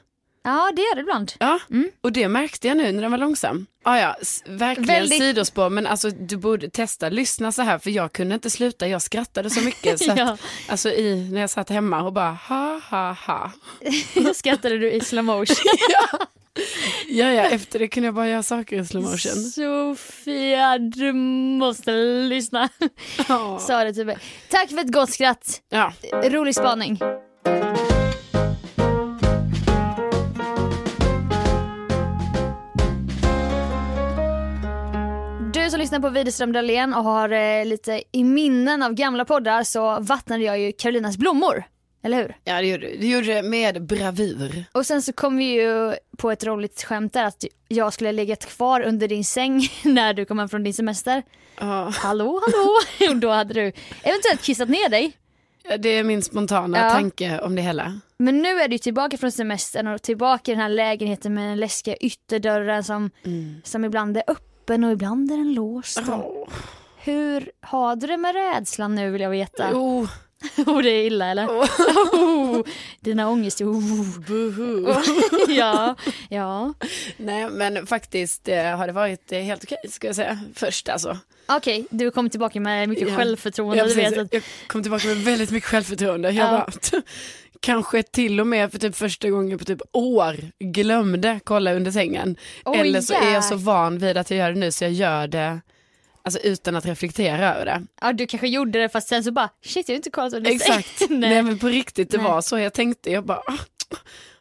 Ja det gör det ibland.
Ja, och det märkte jag nu när den var långsam. Ah, ja, s- verkligen
Väldigt-
sidospår, men alltså, du borde testa lyssna så här, för jag kunde inte sluta, jag skrattade så mycket. Så att,
Ja.
alltså, i, när jag satt hemma och bara ha ha ha.
Skrattade du i slow motion?
Ja, ja, efter det kunde jag bara göra saker i slow motion.
Sofia, du måste lyssna. Sa det typ. Tack för ett gott skratt.
Ja.
Rolig spaning. Du som lyssnar på Widerström Dahlén och har eh, lite i minnen av gamla poddar så vattnade jag ju Karolinas blommor. Eller hur?
ja, det gjorde du. Du gjorde det med bravur.
Och sen så kom vi ju på ett roligt skämt där att jag skulle ha legat kvar under din säng när du kom hem från din semester.
Ja,
Hallå, hallå! Och då hade du eventuellt kissat ner dig.
det är min spontana
Ja.
tanke om det hela.
Men nu är du tillbaka från semestern och tillbaka i den här lägenheten med den läskiga ytterdörren som,
Mm.
som ibland är öppen och ibland är den låst.
Åh.
Hur har du det med rädslan nu vill jag veta?
Oh.
Oh, det är illa eller? Oh. Dina ångest... Oh.
Buhu.
Ja, ja.
Nej, men faktiskt eh, har det varit eh, helt okej, ska jag säga. Först alltså.
Okej, du kom tillbaka med mycket
Ja.
självförtroende. du
precis.
vet att
Jag kom tillbaka med väldigt mycket självförtroende. Jag
Ja.
bara, kanske till och med för typ första gången på typ år glömde kolla under sängen.
Oj,
Eller så är jag så
jäk-
van vid att jag gör det nu så jag gör det alltså, utan att reflektera över det.
ja, du kanske gjorde det fast sen så bara shit jag har inte kollat under
Exakt,
sängen.
nej.
Alltså, Nej.
men på riktigt det
Nej.
var så. Jag tänkte, jag bara, "Ah,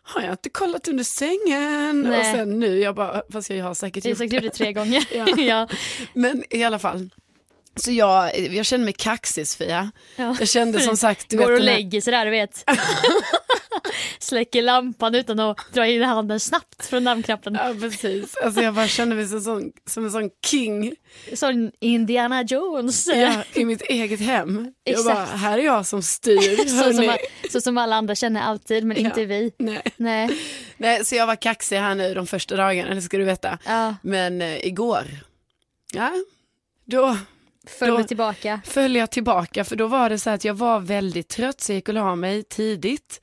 har jag inte kollat under sängen?
Nej.
Och sen nu, jag bara, fast jag har säkert
Jag har
gjort
sagt gjort det tre gånger.
Ja.
ja.
Men i alla fall. Så jag, jag kände mig kaxig Sofia.
Ja.
Jag kände som sagt, du
Går och
den här-
lägger sig där du vet. Släcker lampan utan att dra in handen snabbt från namnknappen.
Ja precis, alltså jag bara kände mig som, en sån, som en sån king
Sån Indiana Jones.
ja, i mitt eget hem. Jag bara,
Exakt.
här är jag som styr.
Så som,
hörni.
så som alla andra känner alltid men inte
Ja.
vi.
Nej.
Nej.
Nej, så jag var kaxig här nu de första dagarna, det ska du veta.
Ja.
Men eh, igår, ja, då
Följ
Då-
mig tillbaka.
föll jag tillbaka för då var det så här att jag var väldigt trött så jag gick och la mig tidigt.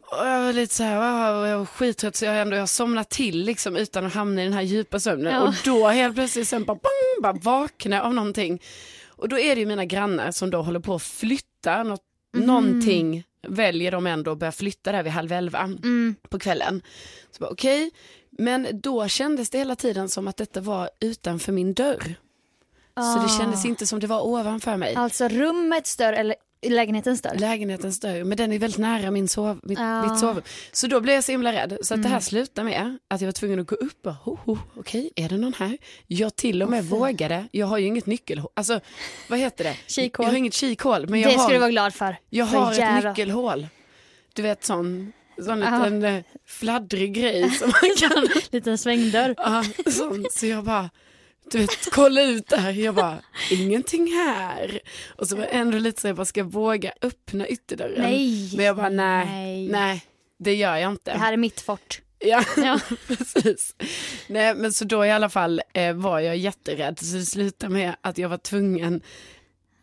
Och jag var lite så här, "Ah, jag var skittrött så jag ändå jag somnade till liksom utan att hamna i den här djupa sömnen.
Ja.
Och då helt plötsligt sen bara, bang, bara vaknade jag av någonting. Och då är det ju mina grannar som då håller på att flytta något, någonting väljer de ändå att börja flytta där vid halv elva på kvällen. Så bara okej, men då kändes det hela tiden som att detta var utanför min dörr. Så
Ah.
det kändes inte som det var ovanför mig.
Alltså rummets dörr eller lägenhetens dörr.
Lägenhetens dörr, men den är väldigt nära min sov, mitt,
Ja.
mitt sovrum. Så då blev jag så himla rädd. Så att
Mm.
det här slutade med att jag var tvungen att gå upp och ho, ho, okej, är det någon här? Jag till och med vågade, jag har ju inget nyckel, alltså vad heter det?
Kikhål.
Jag har inget kikhål, men jag
Det
har,
ska du vara glad för.
jag
för
har ett
jävla-
nyckelhål. Du vet sån, sån
Ja.
liten eh, fladdrig grej som man kan
Liten svängdörr.
Ja, sånt. Så jag bara, du vet, kolla ut där. Jag bara, ingenting här. Och så var jag ändå lite så jag bara, ska jag våga öppna ytterdörren?
Nej.
Men jag bara, nej,
Nej.
nej, det gör jag inte.
Det här är mitt fort.
Ja,
Ja.
precis. Nej, men så då i alla fall eh, var jag jätterädd. Så det slutade med att jag var tvungen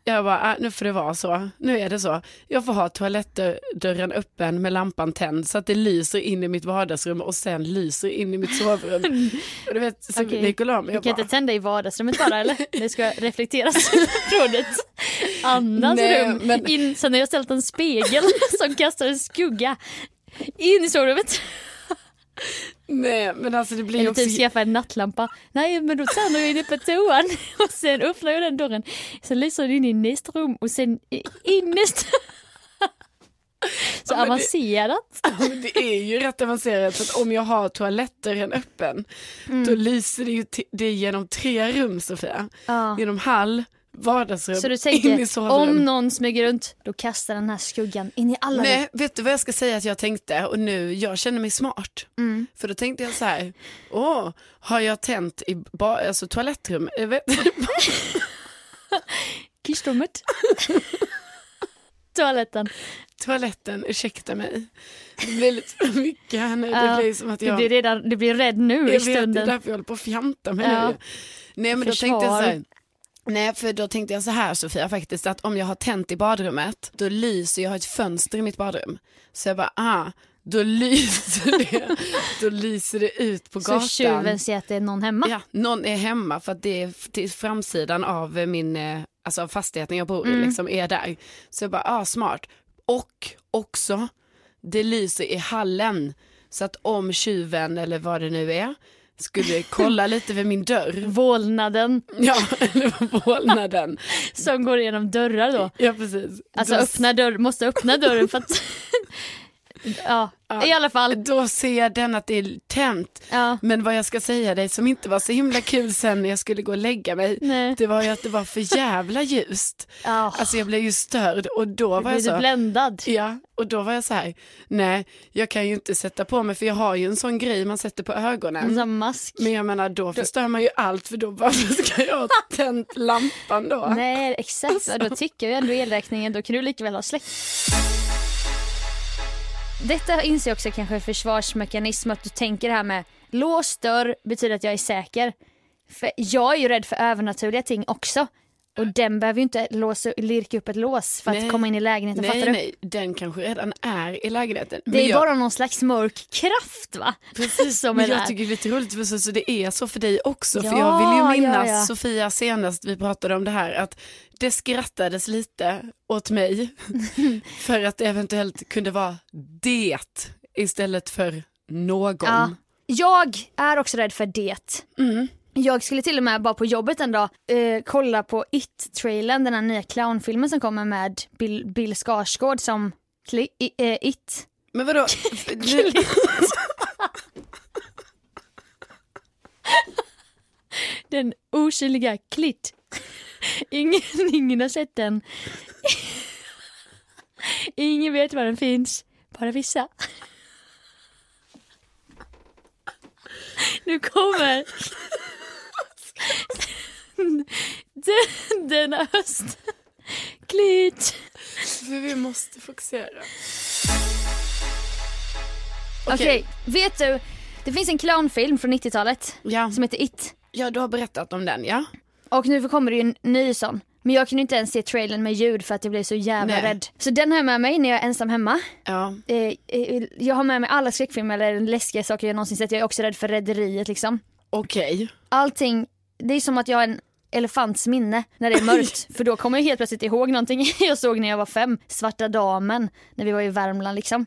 jag bara, äh, nu får det vara så. Nu är det så. Jag får ha toalettdörren öppen med lampan tänd så att det lyser in i mitt vardagsrum och sen lyser in i mitt sovrum. och du vet, så
Okej.
Nicolás, men
Du
jag
kan
bara,
inte tända i vardagsrummet bara eller? Det ska reflekteras från ett annat
Nej,
rum.
men-
In, sen har jag ställt en spegel som kastar en skugga in i sovrummet.
nej, men alltså det blir ju
Eller
också...
typ skaffa en nattlampa. Nej men då tänder jag inne på toan och sen öppnar jag den dörren. Sen lyser den in i nästa rum och sen i i nästa. Så avancerat.
Ja, men det är ju rätt avancerat för att om jag har toalettdörren öppen
Mm.
då lyser det ju t- det genom tre rum Sofia.
Ja.
Genom hall, vardagsrum,
Så Alltså, du
in i
tänker,
sovrummet.
om någon smyger runt, då kastar den här skuggan in i alla rum.
Nej, vet du vad jag ska säga att jag tänkte och nu, jag känner mig smart.
Mm.
För då tänkte jag så här, åh, har jag tänt i ba- alltså, toalettrum? Jag vet-
Kissrummet. Toaletten.
Toaletten, ursäkta mig. Det blir lite för mycket här nu. Det
Ja,
blir som att
Du
jag...
blir, redan, du blir rädd nu i
Jag vet, det är
stunden.
därför jag håller på att fjanta mig
Ja.
nu. Nej men då
Försvar.
tänkte jag så här. Nej för då tänkte jag så här Sofia faktiskt att om jag har tänt i badrummet då lyser jag har ett fönster i mitt badrum. Så jag bara ah, då lyser det, då lyser det ut på
Så
gatan.
tjuven ser att det är någon hemma.
Ja, någon är hemma för att det är f- till framsidan av eh, min, eh, alltså av fastigheten jag bor i,
Mm.
liksom är där. Så jag bara, ah, smart. Och också, det lyser i hallen. Så att om tjuven eller vad det nu är skulle kolla lite vid min dörr,
Vålnaden
ja, eller vålnaden.
som går igenom dörrar då.
Ja, precis.
Alltså
då,
öppna dörr, måste öppna dörren för att... ja, i alla fall.
då ser jag den att det är tänt.
Ja.
Men vad jag ska säga dig som inte var så himla kul sen när jag skulle gå och lägga mig,
Nej.
det var ju att det var för jävla ljust.
Ja.
Alltså jag blev ju störd och då var jag
Blir du
så,
bländad?
ja, och då var jag så här, nej jag kan ju inte sätta på mig för jag har ju en sån grej man sätter på
En
ögonen.
sån mask?
Men jag menar då förstör man ju allt för då varför ska jag ha tänt lampan då?
Nej, exakt.
Alltså.
Ja, Då tickar ju ändå elräkningen. Då kan du lika väl ha släckt. Detta inser jag också kanske är försvarsmekanism. Att du tänker det här med låst dörr betyder att jag är säker. För jag är ju rädd för övernaturliga ting också. Och den behöver ju inte låsa, lirka upp ett lås för att
Nej.
komma in i lägenheten.
Nej,
fattar du?
nej, den kanske redan är i lägenheten.
Det är
jag,
bara någon slags mörk kraft va? Precis som
men
är
jag
där.
tycker det är lite roligt för så, så det är så för dig också. för
Ja,
jag vill ju minnas
ja, ja.
Sofia senast vi pratade om det här att det skrattades lite åt mig för att det eventuellt kunde vara det istället för någon.
Ja. Jag är också rädd för det. Jag skulle till och med bara på jobbet en dag eh, kolla på It-trailern, den här nya clownfilmen som kommer med Bill, Bill Skarsgård som kli, i, eh, It.
Men vadå? nu,
Den osynliga Klitt. Ingen, ingen har sett den. Ingen vet var den finns, bara vissa. Nu kommer den, denna höst. Klitt.
för vi måste fokusera.
Okej, vet du? Det finns en clownfilm från 90-talet
Ja.
som heter It.
ja, du har berättat om den ja.
Och nu kommer det ju en ny sån. Men jag kunde inte ens se trailern med ljud för att jag blev så jävla
Nej.
rädd. Så den har jag med mig när jag är ensam hemma.
ja.
Eh, eh, jag har med mig alla skräckfilmer eller läskiga saker jag någonsin sett. Jag är också rädd för Rederiet liksom.
Okej.
Allting, det är som att jag har en elefants minne när det är mörkt. för då kommer jag helt plötsligt ihåg någonting jag såg när jag var fem. Svarta damen, när vi var i Värmland liksom.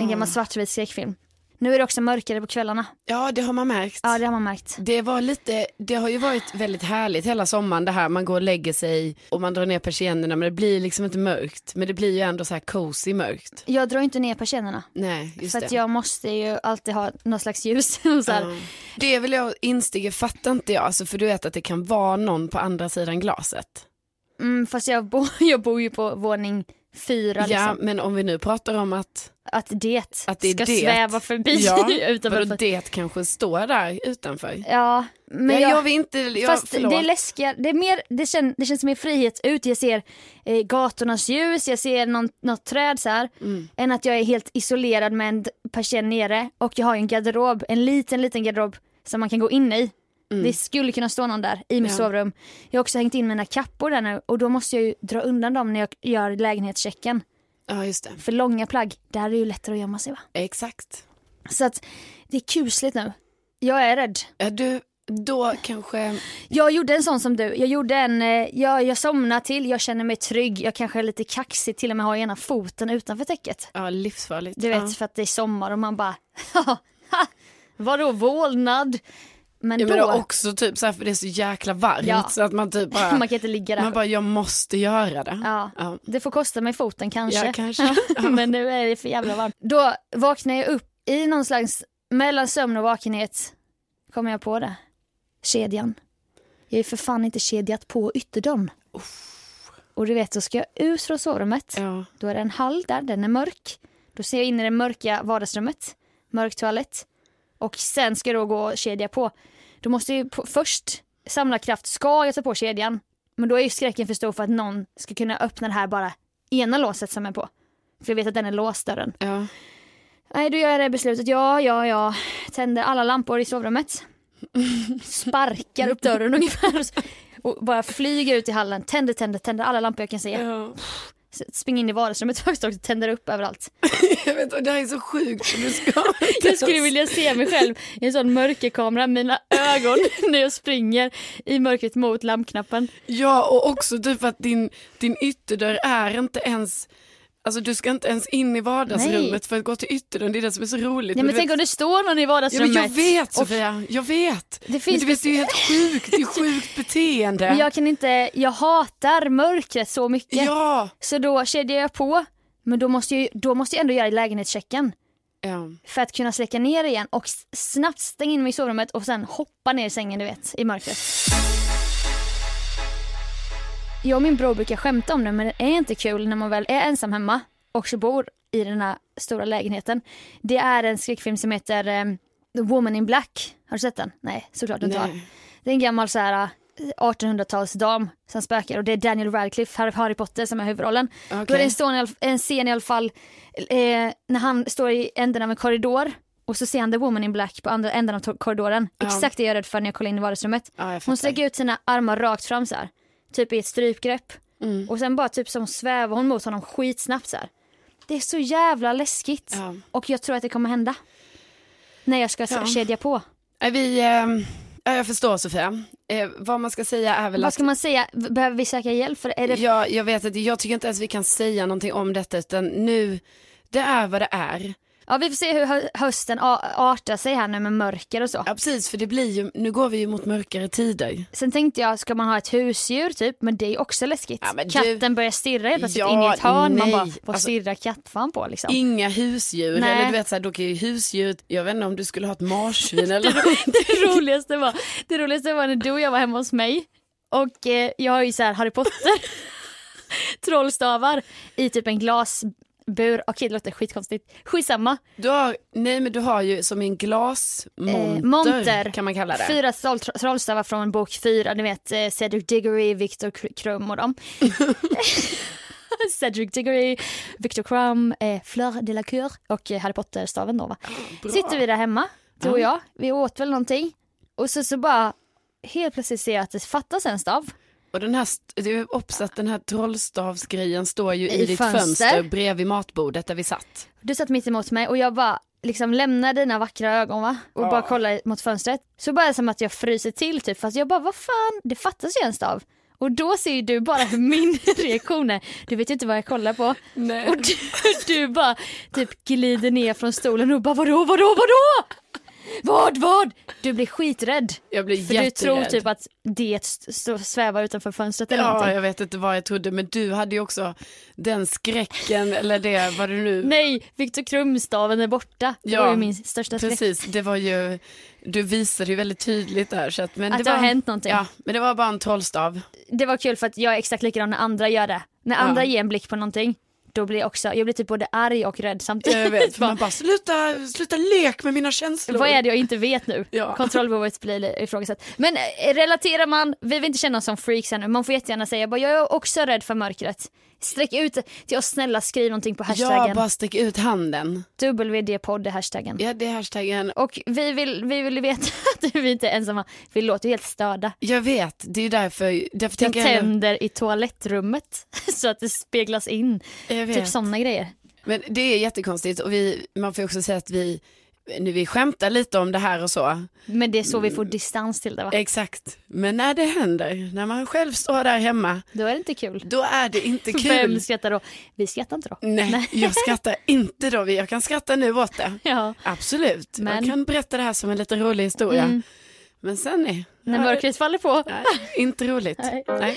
En gammal svartvit skräckfilm. Nu är det också mörkare på kvällarna.
Ja, det har man märkt.
Ja det har man märkt.
Det var lite, det har ju varit väldigt härligt hela sommaren det här man går och lägger sig och man drar ner persiennerna men det blir liksom inte mörkt men det blir ju ändå så här cozy mörkt.
Jag drar inte ner persiennerna.
Nej, just
För att
det.
jag måste ju alltid ha någon slags ljus. Och så här.
Ja. Det vill jag instiga, fattar inte jag, alltså, för du vet att det kan vara någon på andra sidan glaset.
Mm, fast jag, bo, jag bor ju på våning fyra
Ja,
liksom.
men om vi nu pratar om att,
Att det,
att det är
ska
det.
sväva förbi
ja,
utanför.
Vadå, det kanske står där utanför.
Ja, men
Nej, jag,
jag,
vill inte, jag,
fast
förlåt.
det är läskiga, det, är mer, det, kän, det känns mer frihet ut. Jag ser eh, gatornas ljus, jag ser någon, något träd så här.
Mm.
Än att jag är helt isolerad med en d- persienn nere och jag har ju en garderob, en liten liten garderob som man kan gå in i. Det skulle kunna stå någon där i mitt
Mm. Ja.
sovrum. Jag har också hängt in mina kappor där nu och då måste jag ju dra undan dem när jag gör lägenhetschecken.
Ja, just det.
För långa plagg, där är det ju lättare att gömma sig va.
Exakt.
Så att det är kusligt nu. Jag är rädd.
Ja, du, då kanske...
Jag gjorde en sån som du. Jag gjorde en, eh, jag, jag somnar till, jag känner mig trygg, jag kanske är lite kaxig, till och med har ena foten utanför täcket.
Ja, livsfarligt.
Du vet
ja.
för att det är sommar och man bara, vadå vålnad? Men
Ja,
då,
men det är också typ så här, för det är så jäkla varmt
Ja.
så att man typ bara,
man kan inte ligga där.
man bara, jag måste göra det.
Ja.
Ja.
Det får kosta mig foten kanske.
Ja, kanske. Ja.
Men nu är det för jävla varmt. Då vaknar jag upp i någon slags mellan sömn och vakenhet. Kommer jag på det. Kedjan. Jag är för fan inte kedjat på ytterdörren. Och du vet, så ska jag ut från sovrummet.
Ja.
Då är det en hall där, den är mörk. Då ser jag in i det mörka vardagsrummet, mörk toalett. Och sen ska jag då gå och kedja på. Då måste jag ju på, först samla kraft, ska jag ta på kedjan? Men då är ju skräcken för stor för att någon ska kunna öppna det här bara ena låset som är på. För jag vet att den är låst dörren.
Ja.
Nej, då gör jag det beslutet. Ja, ja, ja. Tänder alla lampor i sovrummet. Sparkar upp dörren ungefär. Och bara flyger ut i hallen. Tänder, tänder, tänder alla lampor jag kan se.
Ja.
Springer in i vardagsrummet först och tänder upp överallt.
Jag vet, och det här är så sjukt. för Du ska
Jag skulle vilja se mig själv i en sån mörkerkamera, mina ögon när jag springer i mörkret mot lampknappen.
Ja, och också typ att din, din ytterdörr är inte ens, alltså du ska inte ens in i vardagsrummet
Nej.
för att gå till ytterdörrn. Det är det som är så roligt.
Ja, men
du
tänk
vet-
om det står någon i
Ja, men
vardagsrummet.
jag vet
och,
Sofia, jag vet.
Det finns
men du vet, det är ju helt sjukt, det är sjukt beteende.
men jag kan inte, jag hatar mörkret så mycket.
Ja.
Så då kedjar jag på, men då måste jag, ju- då måste jag ändå göra lägenhetschecken
ja.
för att kunna släcka ner igen och s- snabbt stänga in mig i sovrummet och sen hoppa ner i sängen du vet, i mörkret. Jag och min bror brukar skämta om det men det är inte kul när man väl är ensam hemma och så bor i den här stora lägenheten. Det är en skräckfilm som heter eh, The Woman in Black. Har du sett den? Nej, såklart du inte har.
Nej.
Det är en gammal så här eh, 1800-talsdam som spökar och det är Daniel Radcliffe, Harry- Harry Potter som är huvudrollen. Då är det en, sån, i alla- en scen i alla fall eh, när han står i änden av en korridor och så ser han The Woman in Black på andra änden av to- korridoren. Exakt det jag är rädd för när jag kollar in i vardagsrummet.
Ja, jag
Hon
fattar.
sträcker ut sina armar rakt fram så här. Typ i ett strypgrepp.
Mm.
Och sen bara typ som svävar hon mot honom skitsnabbt så här. Det är så jävla läskigt.
Ja.
Och jag tror att det kommer hända. När jag ska
Ja.
kedja på.
Nej, Vi, ehm, ja, jag förstår Sofia. Eh, vad man ska säga är väl
Vad
att
ska man säga? V- Behöver vi söka hjälp? För är det...
Ja, jag vet att jag tycker inte ens vi kan säga någonting om detta utan nu, det är vad det är.
ja, vi får se hur hö- hösten a- artar sig här nu med mörker och så.
Ja precis, för det blir ju, nu går vi ju mot mörkare tider.
Sen tänkte jag, ska man ha ett husdjur typ? Men det är också läskigt.
Ja, men du-
Katten börjar stirra helt plötsligt
Ja,
in i ett hörn. Man
nej.
bara, vad
Alltså-
stirrar kattfan på liksom?
Inga husdjur,
Nej.
eller du vet så här, då kan ju husdjuret, jag vet inte om du skulle ha ett marsvin eller något.
det, roligaste var, det roligaste var när du och jag var hemma hos mig och eh, jag har ju så här Harry Potter trollstavar i typ en glasbur. Okej det låter skitkonstigt. Skitsamma.
Du har, nej men du har ju som i en glasmonter,
Eh, monter.
kan man kalla det.
Fyra troll, trollstavar från bok fyra. Ni vet eh, Cedric Diggory, Victor Kr- Krum och dem. Cedric Diggory, Victor Krum, eh, Fleur de la Cour och eh, Harry Potter-staven då va.
Ah,
Sitter vi där hemma, du och jag. Vi åt väl någonting. Och så, så bara helt plötsligt ser jag att det fattas en stav.
Och den här, st- det är uppsatt, den här trollstavsgrejen står ju i,
I
ditt
fönster.
fönster. bredvid matbordet där vi satt.
Du satt mitt emot mig och jag bara liksom lämnar dina vackra ögon va? Och bara kollar mot fönstret. Så bara som att jag fryser till typ fast jag bara vad fan det fattas ju en stav. Och då ser ju du bara hur min reaktion är. Du vet ju inte vad jag kollar på.
Nej.
Och du, du bara typ glider ner från stolen och bara vadå vadå vadå? Vad vad? Du blir skiträdd.
Jag blir
För du
jätterädd.
tror typ att det st- st- svävar utanför fönstret eller
Ja,
någonting.
jag vet inte vad jag trodde, men du hade ju också den skräcken, eller det, vad det nu...
Nej, Viktor Krumstaven är borta. Det
Ja,
var ju min största skräck.
Precis, det var ju, du visade ju väldigt tydligt där. Så att, men
Att
det
det har
var,
hänt någonting.
Ja, men det var bara en trollstav.
det var kul för att jag är exakt likadan när andra gör det. När andra
Ja.
ger en blick på någonting, då blir jag också, jag blir typ både arg och rädd samtidigt.
Jag vet, för
Bara,
man bara, sluta, sluta lek med mina känslor.
Vad är det jag inte vet nu?
Ja.
Kontrollbehovet blir ifrågasatt. Men eh, relaterar man, vi vill inte känna oss som freaks ännu, man får jättegärna säga bara, jag är också rädd för mörkret. Sträck ut till oss, snälla skriv någonting på
Ja,
hashtaggen.
bara stick ut handen.
WD-podd är hashtaggen.
Ja, det är hashtaggen.
Och vi vill, vi vill veta att vi inte är ensamma, vi låter ju helt störda.
Jag vet, det är ju därför, därför
De
tänker jag...
tänder i toalettrummet så att det speglas in.
Jag vet.
Typ sådana grejer.
Men det är jättekonstigt och vi, man får ju också säga att vi, nu vi skämtar lite om det här och så.
Men det är så vi
Mm.
får distans till det va?
Exakt, men när det händer, när man själv står där hemma,
Då är det inte kul.
då är det inte
Vem
kul.
skrattar då? Vi skrattar inte då.
Nej, jag skrattar inte då, jag kan skratta nu åt det.
Ja.
Absolut,
Men- Mm.
jag kan berätta det här som en lite rolig historia. Men sen är...
När mörkret faller på.
Nej, inte roligt.
Nej.
Nej.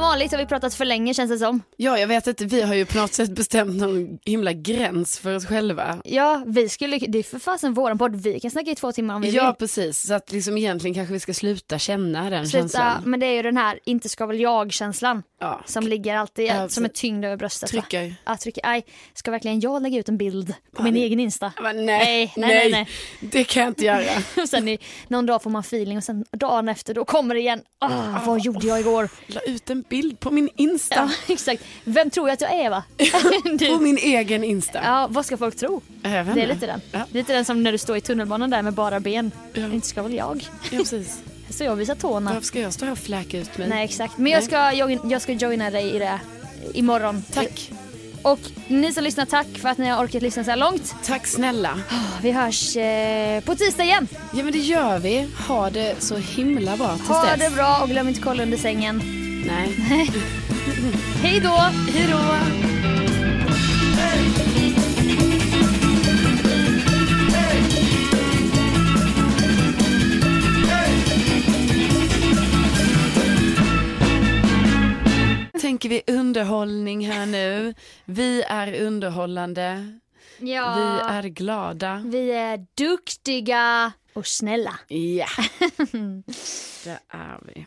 vanligt har vi pratat för länge känns det som.
Ja, jag vet inte, vi har ju på något sätt bestämt någon himla gräns för oss själva.
Ja, vi skulle, det är för fasen våran podd, vi kan snacka i två timmar om vi
Ja, precis. Så att liksom egentligen kanske vi ska sluta känna den
vill. Sluta,
känslan.
men det är ju den här inte ska väl jag-känslan
Ja.
som ligger alltid,
Ja,
som är tyngd över bröstet. va?
Trycker.
Ja, trycker. Aj, ska verkligen jag lägga ut en bild på min egen Insta?
Men
Nej, nej, nej,
det kan jag inte göra.
Och sen i, någon dag får man feeling och sen dagen efter då kommer det igen. Ah, vad gjorde jag igår?
La ut en bild på min Insta.
Ja, exakt. Vem tror jag att jag är va?
På
du.
min egen Insta.
Ja, vad ska folk tro?
Jag vet
Det är
inte.
lite den.
Ja,
Lite den som när du står i tunnelbanan där med bara ben.
Ja.
Inte ska väl jag?
ja precis.
Så jag visar tårna.
Varför ska jag stå här och fläka ut mig?
Nej exakt. Men jag ska, join- jag ska joina dig i det imorgon.
Tack.
Och ni som lyssnar, tack för att ni har orkat lyssna så här långt.
Tack snälla.
Vi hörs eh, på tisdag igen.
Ja men det gör vi. Ha det så himla bra tills
Ha
dess.
det bra och glöm inte kolla under sängen.
Nej.
Hej då!
Hej då. Tänker vi underhållning här nu. Vi är underhållande.
Ja.
Vi är glada.
Vi är duktiga och snälla.
Ja. Det är vi.